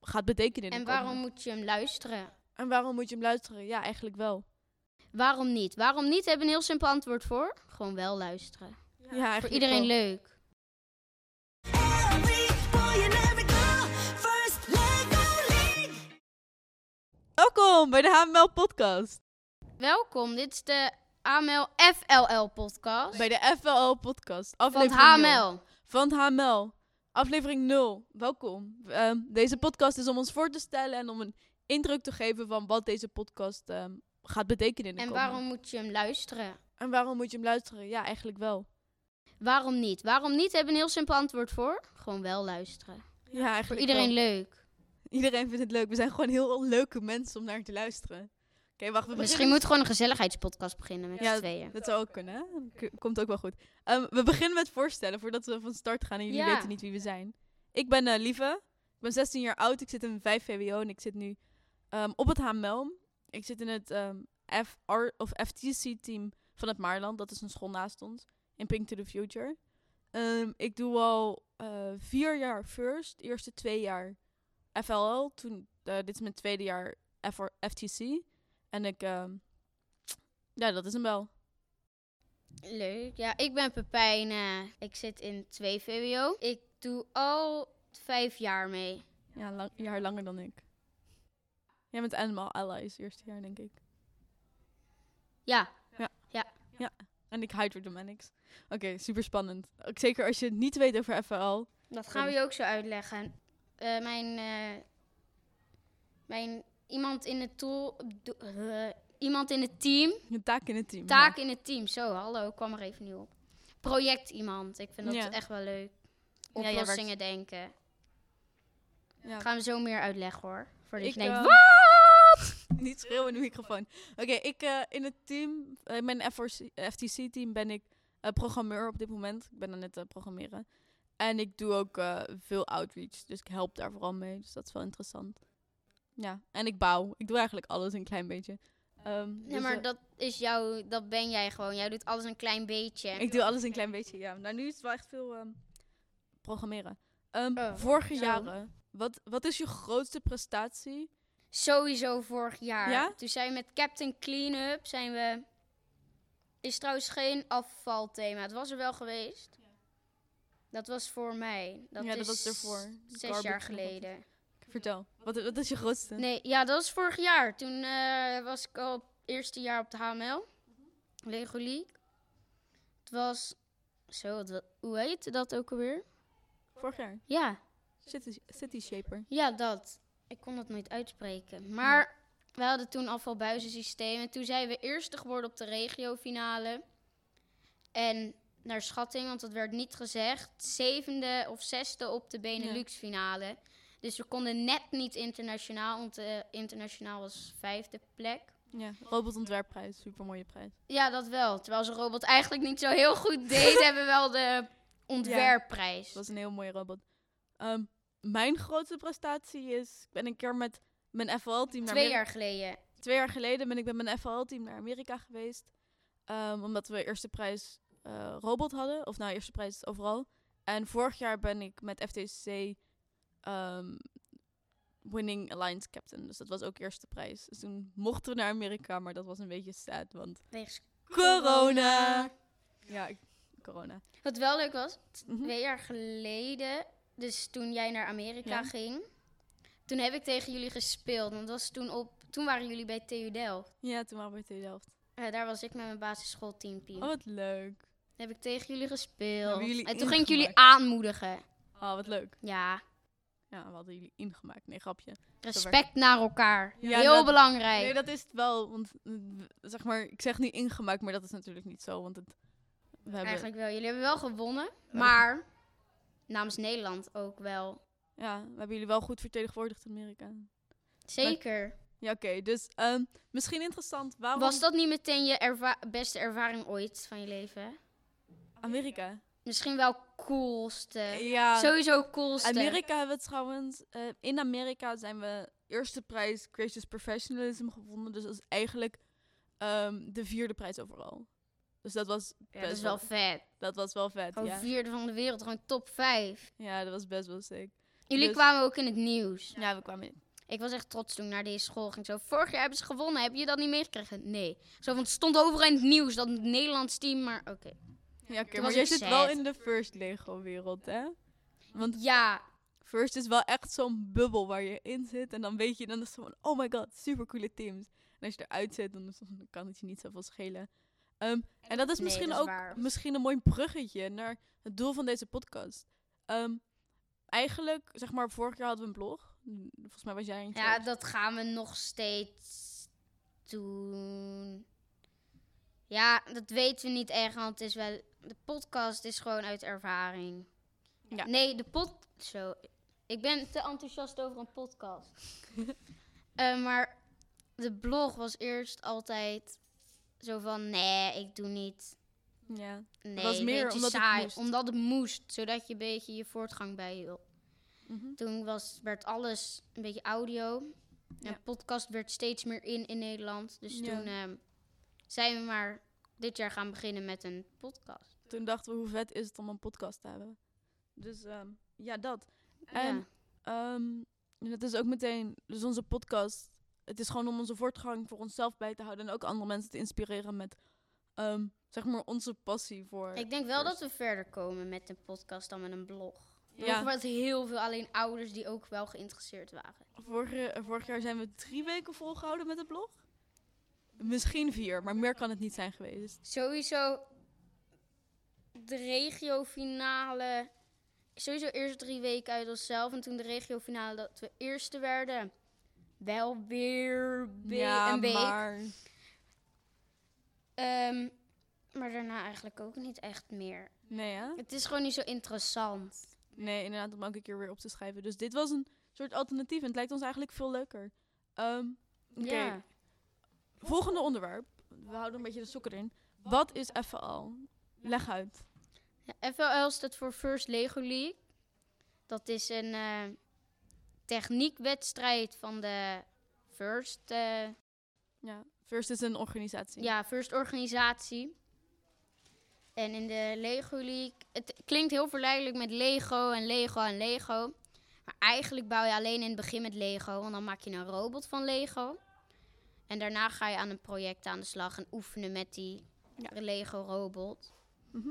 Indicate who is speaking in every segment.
Speaker 1: gaat betekenen. in
Speaker 2: En
Speaker 1: de komende-
Speaker 2: waarom moet je hem luisteren?
Speaker 1: en waarom moet je hem luisteren? Ja, eigenlijk wel.
Speaker 2: Waarom niet? Waarom niet? Hebben een heel simpel antwoord voor. Gewoon wel luisteren.
Speaker 1: Ja, eigenlijk
Speaker 2: Voor iedereen
Speaker 1: wel.
Speaker 2: leuk.
Speaker 3: Every boy and every girl, first love only.
Speaker 1: Welkom bij de HML podcast.
Speaker 2: Welkom, dit is de AML FLL podcast.
Speaker 1: Bij de FLL podcast.
Speaker 2: Van het
Speaker 1: Aflevering nul.
Speaker 2: HML.
Speaker 1: Van het HML. Aflevering 0. Welkom. Ehm, deze podcast is om ons voor te stellen en om een indruk te geven van wat deze podcast ehm, gaat betekenen in de
Speaker 2: En
Speaker 1: komende-
Speaker 2: waarom moet je hem luisteren?
Speaker 1: En waarom moet je hem luisteren? Ja, eigenlijk wel.
Speaker 2: Waarom niet? Waarom niet? Hebben een heel simpel antwoord voor. Gewoon wel luisteren.
Speaker 1: Ja,
Speaker 2: Voor
Speaker 1: eigenlijk
Speaker 2: iedereen
Speaker 1: wel.
Speaker 2: leuk.
Speaker 1: Iedereen vindt het leuk. We zijn gewoon heel leuke mensen om naar te luisteren. Oké, wacht. We
Speaker 2: Misschien
Speaker 1: beginnen...
Speaker 2: moet gewoon een gezelligheidspodcast beginnen met
Speaker 1: Ja,
Speaker 2: z'n tweeën.
Speaker 1: Dat zou ook kunnen. hè? K- Komt ook wel goed. Ehm, we beginnen met voorstellen voordat we van start gaan en jullie
Speaker 2: Ja.
Speaker 1: weten niet wie we zijn. Ik ben eh, Lieve. Ik ben 16 jaar oud. Ik zit in 5 VWO en ik zit nu ehm, op het HML. Ik zit in het ehm, FR of FTC-team van het Maarland. Dat is een school naast ons. In Pink to the Future. Ehm, ik doe al eh, vier jaar first. Eerste twee jaar FLL. Toen, eh, dit is mijn tweede jaar FR FTC. En ik... ehm, ja, dat is hem wel.
Speaker 2: Leuk. Ja, ik ben Pepijn. eh, ik zit in 2 VWO. Ik doe al vijf jaar mee.
Speaker 1: Ja, lang, een jaar langer dan ik. Jij bent Animal Allies, eerste jaar, denk ik.
Speaker 2: Ja,
Speaker 1: En ik Hydrodynamics. Oké, super spannend. Ook zeker als je het niet weet over FL.
Speaker 2: dat gaan we je ook zo uitleggen. Eh, mijn, eh, mijn, iemand in het tool, do- eh, iemand in het team,
Speaker 1: Je taak in het team.
Speaker 2: taak
Speaker 1: ja.
Speaker 2: in het team. Zo, hallo, ik kwam er even nieuw op. Project iemand. Ik vind dat
Speaker 1: Ja.
Speaker 2: echt wel leuk.
Speaker 1: Ja, jij werkt-
Speaker 2: Oplossingen denken.
Speaker 1: Ja.
Speaker 2: Gaan we zo meer uitleggen hoor. Voordat
Speaker 1: Ik,
Speaker 2: je denkt,
Speaker 1: eh,
Speaker 2: wat?
Speaker 1: Niet schreeuwen in de microfoon. Oké, ik eh, in het team, eh, in mijn FTC-team ben ik eh, programmeur op dit moment. Ik ben dan net eh, programmeren. En ik doe ook eh, veel outreach, dus ik help daar vooral mee. Dus dat is wel interessant. Ja, en ik bouw. Ik doe eigenlijk alles een klein beetje. Ehm,
Speaker 2: Nee,
Speaker 1: dus,
Speaker 2: maar
Speaker 1: eh,
Speaker 2: dat is jouw, dat ben jij gewoon. Jij doet alles een klein beetje.
Speaker 1: Ik doe alles een klein beetje, ja. Nou, nu is het wel echt veel ehm, programmeren. Ehm,
Speaker 2: Oh,
Speaker 1: vorige
Speaker 2: zo.
Speaker 1: jaren, wat, wat is je grootste prestatie?
Speaker 2: Sowieso vorig jaar.
Speaker 1: Ja?
Speaker 2: Toen zijn we met Captain Cleanup zijn we. Is trouwens geen afvalthema. Het was er wel geweest. Dat was voor mij. Dat
Speaker 1: Ja, dat
Speaker 2: is
Speaker 1: was ervoor.
Speaker 2: Zes
Speaker 1: Garbage
Speaker 2: jaar
Speaker 1: nog
Speaker 2: geleden.
Speaker 1: Vertel, wat, wat is je grootste?
Speaker 2: Nee, ja, dat was vorig jaar. Toen eh, was ik al het eerste jaar op de HML.
Speaker 1: Mhm.
Speaker 2: Lego League. Het was. Zo, het wa- hoe heet dat ook alweer?
Speaker 1: Vorig jaar.
Speaker 2: Ja.
Speaker 1: City, City Shaper.
Speaker 2: Ja, dat. Ik kon dat nooit uitspreken. Maar we hadden toen afvalbuizensysteem. En toen zijn we eerste geworden op de regiofinale. En naar schatting, want dat werd niet gezegd, zevende of zesde op de Benelux-finale. Dus we konden net niet internationaal, want eh, internationaal was vijfde plek.
Speaker 1: Ja, robotontwerpprijs, supermooie prijs.
Speaker 2: Ja, dat wel. Terwijl ze robot eigenlijk niet zo heel goed deed, hebben we wel de ontwerpprijs.
Speaker 1: Het was een heel mooie robot. Ehm, mijn grootste prestatie is, ik ben een keer met mijn FL-team naar
Speaker 2: Twee
Speaker 1: Amerika
Speaker 2: jaar geleden.
Speaker 1: twee jaar geleden ben ik met mijn FL-team naar Amerika geweest. Ehm, omdat we eerste prijs eh, robot hadden. Of nou, eerste prijs overal. En vorig jaar ben ik met FTC ehm, Winning Alliance Captain. Dus dat was ook eerste prijs. Dus toen mochten we naar Amerika, maar dat was een beetje sad. Want
Speaker 2: Wegens
Speaker 1: corona! Ja, ik- corona.
Speaker 2: Wat wel leuk was,
Speaker 1: Mhm.
Speaker 2: twee jaar geleden, dus toen jij naar Amerika
Speaker 1: Ja.
Speaker 2: ging, toen heb ik tegen jullie gespeeld. Want dat was toen op, toen waren jullie bij TU Delft.
Speaker 1: Ja, toen waren we bij Delft.
Speaker 2: Eh, daar was ik met mijn basisschoolteampje.
Speaker 1: Oh, wat leuk.
Speaker 2: Heb ik tegen jullie
Speaker 1: Hebben
Speaker 2: gespeeld.
Speaker 1: jullie
Speaker 2: en toen ging ik jullie
Speaker 1: ingemaakt?
Speaker 2: aanmoedigen.
Speaker 1: Oh, wat leuk.
Speaker 2: Ja,
Speaker 1: Ja, we hadden jullie ingemaakt. Nee, grapje.
Speaker 2: respect naar elkaar.
Speaker 1: Ja,
Speaker 2: Heel
Speaker 1: dat-
Speaker 2: belangrijk.
Speaker 1: Nee, dat is het wel. Want eh, w- zeg maar, ik zeg nu ingemaakt, maar dat is natuurlijk niet zo. Want het, we hebben.
Speaker 2: Eigenlijk wel. Jullie hebben wel gewonnen, maar namens Nederland ook wel.
Speaker 1: Ja, we hebben jullie wel goed vertegenwoordigd in Amerika.
Speaker 2: Zeker.
Speaker 1: Ja, oké. dus ehm, misschien interessant. Waarom
Speaker 2: Was dat niet meteen je erva- beste ervaring ooit van je leven?
Speaker 1: Amerika? Eh,
Speaker 2: Misschien wel coolste.
Speaker 1: Ja,
Speaker 2: Sowieso coolste.
Speaker 1: Amerika hebben we trouwens. eh, in Amerika zijn we eerste prijs Gracious Professionalism gewonnen. Dus dat is eigenlijk ehm, de vierde prijs overal. Dus dat was,
Speaker 2: Ja, dat is
Speaker 1: best
Speaker 2: wel vet.
Speaker 1: dat was wel vet.
Speaker 2: Gewoon
Speaker 1: Ja.
Speaker 2: vierde van de wereld, gewoon top vijf.
Speaker 1: ja, dat was best wel sick.
Speaker 2: Jullie
Speaker 1: Dus-
Speaker 2: kwamen ook in het nieuws.
Speaker 1: Ja, we kwamen in.
Speaker 2: Ik was echt trots toen ik naar deze school ging. Zo, vorig jaar hebben ze gewonnen. Heb je dat niet meegekregen? Nee. Zo, want het stond overal in het nieuws dat het Nederlands team, maar oké.
Speaker 1: Ja, oké.
Speaker 2: Toen
Speaker 1: maar
Speaker 2: was
Speaker 1: jij
Speaker 2: ik
Speaker 1: zit
Speaker 2: sad.
Speaker 1: wel in de First Lego-wereld, hè? Want
Speaker 2: Ja,
Speaker 1: First is wel echt zo'n bubbel waar je in zit. En dan weet je, dan is het van, oh my god, supercoole teams. En als je eruit zit, dan, is het- dan kan het je niet zoveel schelen. Ehm, en dat is
Speaker 2: nee,
Speaker 1: misschien
Speaker 2: dat is
Speaker 1: ook
Speaker 2: waar.
Speaker 1: misschien een mooi bruggetje naar het doel van deze podcast. Ehm, eigenlijk, zeg maar, vorig jaar hadden we een blog. Mm, Volgens mij was jij een
Speaker 2: ja, dat gaan we nog steeds doen. Ja, dat weten we niet echt, want het is wel... De podcast is gewoon uit ervaring.
Speaker 1: Ja.
Speaker 2: Nee, de pod... Zo, ik ben te enthousiast over een podcast. Eh, maar de blog was eerst altijd zo van... Nee, ik doe niet.
Speaker 1: ja.
Speaker 2: Nee,
Speaker 1: was meer
Speaker 2: beetje
Speaker 1: omdat het
Speaker 2: saai.
Speaker 1: moest.
Speaker 2: Omdat het moest, zodat je een beetje je voortgang bijhield.
Speaker 1: Mhm.
Speaker 2: Toen was, werd alles een beetje audio.
Speaker 1: Ja.
Speaker 2: En podcast werd steeds meer in in Nederland. Dus
Speaker 1: Ja.
Speaker 2: toen ehm, zijn we maar dit jaar gaan beginnen met een podcast.
Speaker 1: Toen dachten we, hoe vet is het om een podcast te hebben? Dus ehm, ja, dat. En
Speaker 2: ja.
Speaker 1: Ehm, en dat is ook meteen, dus onze podcast. Het is gewoon om onze voortgang voor onszelf bij te houden en ook andere mensen te inspireren met, ehm, zeg maar, onze passie voor.
Speaker 2: Ik denk wel
Speaker 1: first.
Speaker 2: dat we verder komen met een podcast dan met een blog.
Speaker 1: Ja.
Speaker 2: Ja. was heel veel alleen ouders die ook wel geïnteresseerd waren.
Speaker 1: Vorige, vorig jaar zijn we drie weken volgehouden met het blog. Misschien vier, maar meer kan het niet zijn geweest.
Speaker 2: Sowieso de regiofinale. Sowieso eerst drie weken uit onszelf. En toen de regiofinale dat we eerste werden. Wel weer be-
Speaker 1: ja,
Speaker 2: een week.
Speaker 1: maar
Speaker 2: Ehm, maar daarna eigenlijk ook niet echt meer.
Speaker 1: nee, hè?
Speaker 2: Het is gewoon niet zo interessant.
Speaker 1: Nee, inderdaad, om elke keer weer op te schrijven. Dus dit was een soort alternatief en het lijkt ons eigenlijk veel leuker. Ehm Oké,
Speaker 2: Ja.
Speaker 1: volgende onderwerp. We houden een beetje de sokken erin. Wat is FAL? Leg uit.
Speaker 2: Ja, FLL staat voor First Lego League. Dat is een eh, techniekwedstrijd van de First eh,
Speaker 1: Ja, First is een organisatie.
Speaker 2: Ja, first organisatie. En in de Lego League, het klinkt heel verleidelijk met Lego en Lego en Lego. Maar eigenlijk bouw je alleen in het begin met Lego, want dan maak je een robot van Lego. En daarna ga je aan een project aan de slag en oefenen met die
Speaker 1: Ja.
Speaker 2: Lego robot.
Speaker 1: Mhm.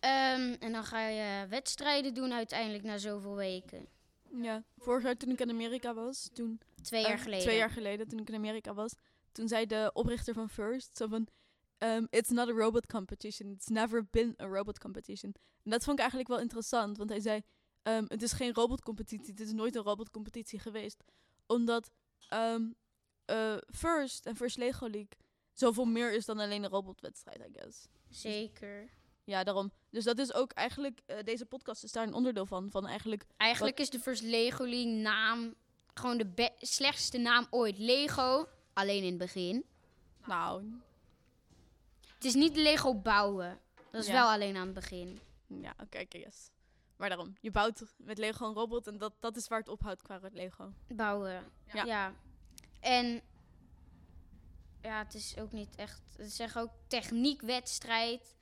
Speaker 2: Ehm, en dan ga je wedstrijden doen uiteindelijk na zoveel weken.
Speaker 1: Ja. Vorig jaar toen ik in Amerika was, toen...
Speaker 2: Twee jaar
Speaker 1: eh,
Speaker 2: geleden.
Speaker 1: Twee jaar geleden, toen ik in Amerika was, toen zei de oprichter van First zo van... ehm, it's not a robot competition. It's never been a robot competition. En dat vond ik eigenlijk wel interessant, want hij zei... ehm, het is geen robotcompetitie. Het is nooit een robotcompetitie geweest. Omdat ehm, eh, First en First Lego League zoveel meer is dan alleen een robotwedstrijd, I guess.
Speaker 2: Zeker.
Speaker 1: Ja, daarom. Dus dat is ook eigenlijk... eh, deze podcast is daar een onderdeel van. Van eigenlijk
Speaker 2: Eigenlijk is de First Lego League naam gewoon de be- slechtste naam ooit. Lego, alleen in het begin.
Speaker 1: Nou,
Speaker 2: Het is niet Lego bouwen. Dat is
Speaker 1: Ja.
Speaker 2: wel alleen aan het begin.
Speaker 1: ja, oké, oké, yes. Maar daarom, je bouwt met Lego een robot en dat, dat is waar het ophoudt qua Lego.
Speaker 2: Bouwen.
Speaker 1: Ja.
Speaker 2: Ja. En ja, het is ook niet echt. Het is echt ook techniekwedstrijd.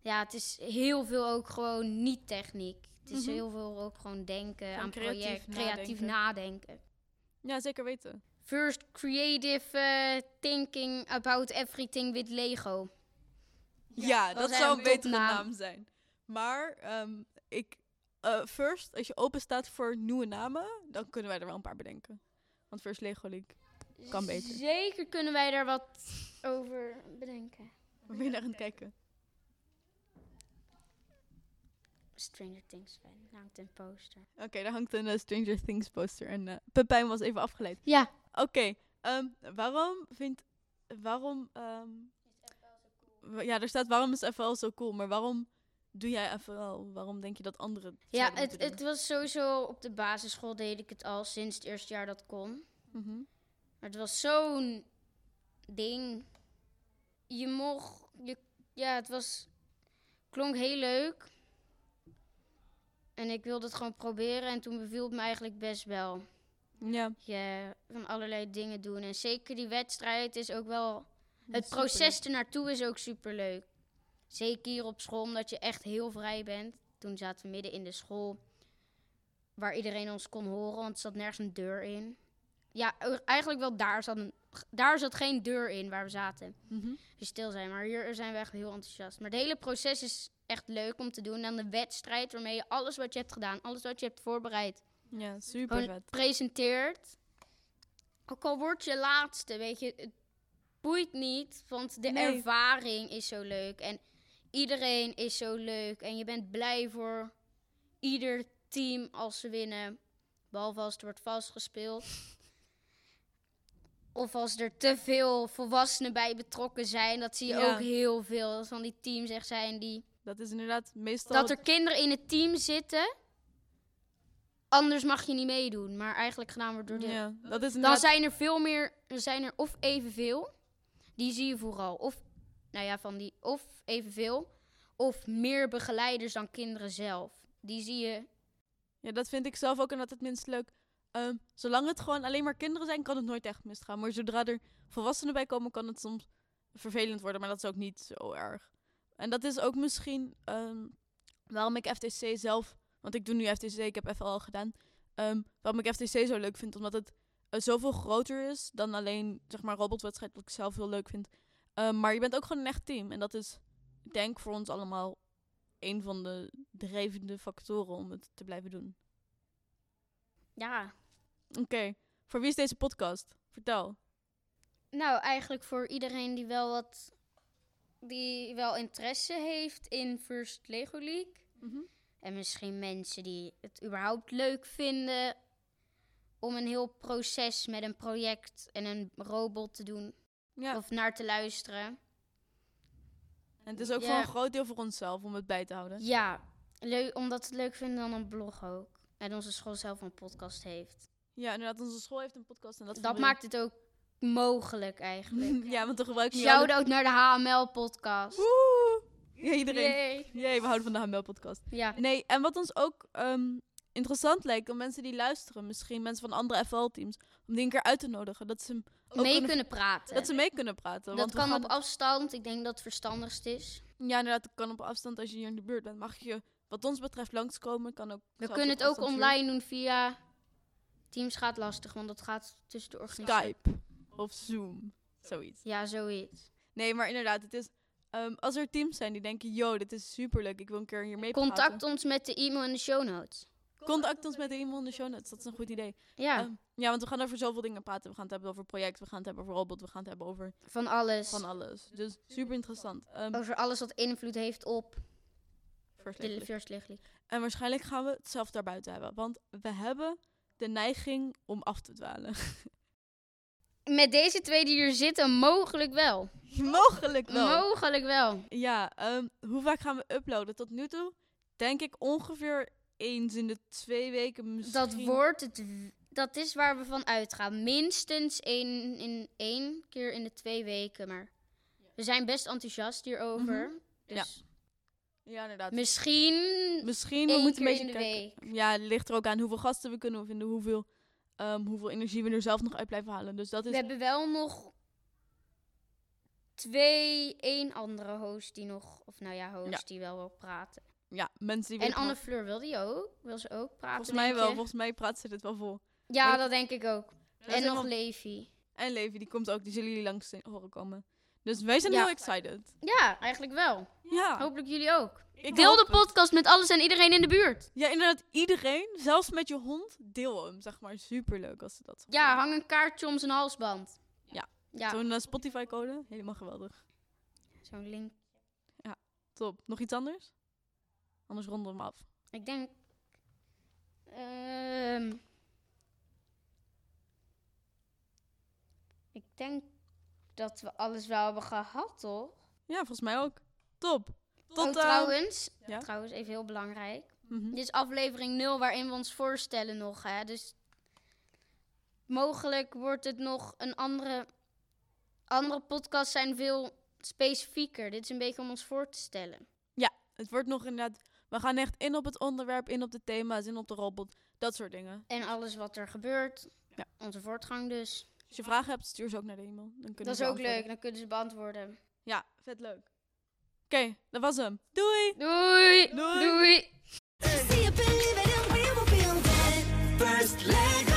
Speaker 2: Ja, het is heel veel ook gewoon niet techniek. Het is
Speaker 1: Mhm.
Speaker 2: heel veel ook gewoon denken
Speaker 1: Gewoon
Speaker 2: aan
Speaker 1: creatief
Speaker 2: project, creatief
Speaker 1: nadenken.
Speaker 2: nadenken.
Speaker 1: Ja, zeker weten.
Speaker 2: First creative eh, thinking about everything with Lego.
Speaker 1: Ja,
Speaker 2: dat
Speaker 1: dat
Speaker 2: is
Speaker 1: zou een
Speaker 2: een topnaam.
Speaker 1: betere naam zijn. Maar, ehm, ik, eh, first, als je open staat voor nieuwe namen, dan kunnen wij er wel een paar bedenken. Want first Lego League. Kan beter.
Speaker 2: Zeker kunnen wij daar wat over bedenken.
Speaker 1: Waar ben je naar aan het kijken?
Speaker 2: Stranger Things fan, hangt een poster.
Speaker 1: Oké, daar hangt een eh, Stranger Things poster en eh, Pepijn was even afgeleid.
Speaker 2: Ja.
Speaker 1: Oké, ehm, waarom vindt. Waarom. ehm, wa- Ja, er staat waarom is FL zo cool, maar waarom doe jij FL? Waarom denk je dat anderen. het
Speaker 2: Ja,
Speaker 1: zouden
Speaker 2: het,
Speaker 1: moeten
Speaker 2: het
Speaker 1: doen?
Speaker 2: was sowieso op de basisschool deed ik het al sinds het eerste jaar dat kon.
Speaker 1: Mhm.
Speaker 2: Maar het was zo'n ding. Je mocht, je, ja, het was, klonk heel leuk. En ik wilde het gewoon proberen en toen beviel het me eigenlijk best wel.
Speaker 1: Ja,
Speaker 2: je van allerlei dingen doen. En zeker die wedstrijd is ook wel.
Speaker 1: Dat
Speaker 2: Het
Speaker 1: is
Speaker 2: proces ernaartoe is ook superleuk. Zeker hier op school, omdat je echt heel vrij bent. Toen zaten we midden in de school. waar iedereen ons kon horen, want er zat nergens een deur in. Ja, e- eigenlijk wel daar zat, een, daar zat geen deur in waar we zaten.
Speaker 1: Mhm.
Speaker 2: Dus stil zijn, maar hier zijn we echt heel enthousiast. Maar het hele proces is echt leuk om te doen. En dan de wedstrijd waarmee je alles wat je hebt gedaan, alles wat je hebt voorbereid,
Speaker 1: Ja, super
Speaker 2: gewoon
Speaker 1: vet.
Speaker 2: presenteert. Ook al word je laatste, weet je, het boeit niet, want de
Speaker 1: Nee.
Speaker 2: ervaring is zo leuk. En iedereen is zo leuk. En je bent blij voor ieder team als ze winnen. Behalve als het wordt vastgespeeld. Of als er te veel volwassenen bij betrokken zijn. Dat zie je
Speaker 1: Ja.
Speaker 2: ook heel veel. Dat van die teams echt zijn die...
Speaker 1: Dat is inderdaad meestal...
Speaker 2: Dat er kinderen in het team zitten. Anders mag je niet meedoen. Maar eigenlijk gedaan wordt door de...
Speaker 1: ja, dat is
Speaker 2: Dan
Speaker 1: inderdaad...
Speaker 2: zijn er veel meer... Er zijn er of evenveel. Die zie je vooral. Of, nou ja, van die... Of evenveel. Of meer begeleiders dan kinderen zelf. Die zie je
Speaker 1: Ja, dat vind ik zelf ook inderdaad het minst leuk. Ehm, zolang het gewoon alleen maar kinderen zijn, kan het nooit echt misgaan. Maar zodra er volwassenen bij komen, kan het soms vervelend worden. Maar dat is ook niet zo erg. En dat is ook misschien ehm, waarom ik FTC zelf... Want ik doe nu FTC, ik heb FL al gedaan. ehm, waarom ik FTC zo leuk vind. Omdat het eh, zoveel groter is dan alleen, zeg maar, robotwedstrijd. Wat ik zelf heel leuk vind. Ehm, maar je bent ook gewoon een echt team. En dat is, ik denk voor ons allemaal... Een van de drijvende factoren om het te blijven doen.
Speaker 2: Ja.
Speaker 1: Oké, voor wie is deze podcast? Vertel.
Speaker 2: Nou, eigenlijk voor iedereen die wel wat. die wel interesse heeft in First Lego League. En misschien mensen die het überhaupt leuk vinden. om een heel proces met een project en een robot te doen.
Speaker 1: Ja,
Speaker 2: of naar te luisteren.
Speaker 1: en het is ook
Speaker 2: Ja.
Speaker 1: voor een groot deel voor onszelf om het bij te houden.
Speaker 2: Ja, leuk, omdat we het leuk vinden dan een blog ook. En onze school zelf een podcast heeft.
Speaker 1: Ja, inderdaad, onze school heeft een podcast en dat
Speaker 2: Dat,
Speaker 1: vonden we-
Speaker 2: maakt het ook mogelijk eigenlijk.
Speaker 1: Ja, want dan gebruiken we
Speaker 2: Shout-out naar de HML-podcast.
Speaker 1: Woe! Ja, iedereen. Jee, we houden van de HML-podcast.
Speaker 2: Ja.
Speaker 1: Nee, en wat ons ook ehm, interessant lijkt, om mensen die luisteren, misschien mensen van andere FL-teams, om die een keer uit te nodigen. Dat ze, ook
Speaker 2: mee
Speaker 1: kunnen-
Speaker 2: kunnen praten.
Speaker 1: dat ze mee kunnen praten.
Speaker 2: Dat
Speaker 1: want we
Speaker 2: kan
Speaker 1: gaan-
Speaker 2: op afstand. Ik denk dat het verstandigst is.
Speaker 1: Ja, inderdaad, dat kan op afstand als je hier in de buurt bent. Mag je, wat ons betreft, langskomen. Kan ook
Speaker 2: We
Speaker 1: zelfs
Speaker 2: kunnen
Speaker 1: op
Speaker 2: het ook
Speaker 1: afstand huren.
Speaker 2: online doen via... Teams gaat lastig, want dat gaat tussen de organisatie.
Speaker 1: Skype of Zoom. Zoiets.
Speaker 2: Ja, zoiets.
Speaker 1: Nee, maar inderdaad, het is. ehm, als er teams zijn die denken: yo, dit is superleuk, ik wil een keer hier mee
Speaker 2: Contact
Speaker 1: praten.
Speaker 2: ons met de e-mail in de show notes.
Speaker 1: Contact ons met iemand in de show notes, dat is een goed idee.
Speaker 2: Ja,
Speaker 1: Ehm, ja, want we gaan over zoveel dingen praten. We gaan het hebben over project, we gaan het hebben over robot, we gaan het hebben over
Speaker 2: van alles.
Speaker 1: van alles. Dus super interessant. Ehm,
Speaker 2: Over alles wat invloed heeft op
Speaker 1: first
Speaker 2: de
Speaker 1: level.
Speaker 2: First League League.
Speaker 1: en waarschijnlijk gaan we het zelf daarbuiten hebben, want we hebben de neiging om af te dwalen.
Speaker 2: Met deze twee die hier zitten, mogelijk wel.
Speaker 1: Mogelijk wel.
Speaker 2: Mogelijk wel.
Speaker 1: Ja, ehm, hoe vaak gaan we uploaden? Tot nu toe denk ik ongeveer eens in de twee weken misschien.
Speaker 2: Dat wordt het... w- Dat is waar we van uitgaan. Minstens één, in één keer in de twee weken. Maar we zijn best enthousiast hierover. Dus
Speaker 1: Mhm. Ja, inderdaad.
Speaker 2: misschien...
Speaker 1: Misschien, we
Speaker 2: één
Speaker 1: moeten een
Speaker 2: keer
Speaker 1: beetje
Speaker 2: in de
Speaker 1: kijken. Ja, het ligt er ook aan hoeveel gasten we kunnen vinden, hoeveel, ehm, hoeveel energie we er zelf nog uit blijven halen. Dus dat
Speaker 2: We
Speaker 1: is...
Speaker 2: hebben wel nog twee, één andere host die nog... Of nou ja, host
Speaker 1: Ja.
Speaker 2: die wel wil praten.
Speaker 1: Ja, mensen die...
Speaker 2: En
Speaker 1: willen
Speaker 2: Anne
Speaker 1: praten.
Speaker 2: Fleur wil die ook. Wil ze ook praten,
Speaker 1: Volgens mij
Speaker 2: denk
Speaker 1: wel,
Speaker 2: je?
Speaker 1: volgens mij praat ze dit wel vol.
Speaker 2: Ja,
Speaker 1: En-
Speaker 2: dat denk ik ook.
Speaker 1: is
Speaker 2: En nog
Speaker 1: helemaal-
Speaker 2: Levi.
Speaker 1: En Levi, die komt ook, die zullen jullie langs horen komen. Dus wij zijn
Speaker 2: Ja.
Speaker 1: heel excited.
Speaker 2: Ja, eigenlijk wel.
Speaker 1: Ja.
Speaker 2: Hopelijk jullie ook.
Speaker 1: Ah. Ik
Speaker 2: Deel
Speaker 1: hoop
Speaker 2: de
Speaker 1: het.
Speaker 2: podcast met alles en iedereen in de buurt.
Speaker 1: Ja, inderdaad, iedereen, zelfs met je hond, deel hem, zeg maar. Superleuk als ze dat
Speaker 2: Ja, hang een kaartje om zijn halsband.
Speaker 1: Ja.
Speaker 2: Ja,
Speaker 1: Zo'n eh, Spotify-code, helemaal geweldig.
Speaker 2: zo'n link.
Speaker 1: Top. Nog iets anders? Anders ronden we hem af.
Speaker 2: Ik denk... ehm, ik denk dat we alles wel hebben gehad, toch?
Speaker 1: Ja, volgens mij ook. Top. Tot
Speaker 2: oh,
Speaker 1: eh,
Speaker 2: trouwens,
Speaker 1: ja.
Speaker 2: trouwens, even heel belangrijk.
Speaker 1: mhm.
Speaker 2: Dit is aflevering 0 waarin we ons voorstellen nog, hè. Dus mogelijk wordt het nog een andere... Andere podcasts zijn veel specifieker. Dit is een beetje om ons voor te stellen.
Speaker 1: Het wordt nog inderdaad... We gaan echt in op het onderwerp, in op de thema's, in op de robot. Dat soort dingen.
Speaker 2: En alles wat er gebeurt.
Speaker 1: Ja.
Speaker 2: Onze voortgang dus.
Speaker 1: Als je vragen hebt, stuur ze ook naar de e-mail. Dan kunnen
Speaker 2: dat
Speaker 1: ze
Speaker 2: is ook
Speaker 1: antwoorden.
Speaker 2: leuk. Dan kunnen ze beantwoorden.
Speaker 1: Ja, vet leuk. Oké, dat was hem. Doei!
Speaker 2: Doei!
Speaker 1: Doei.
Speaker 2: Doei.
Speaker 3: See you, believe it, and we will build it. first leg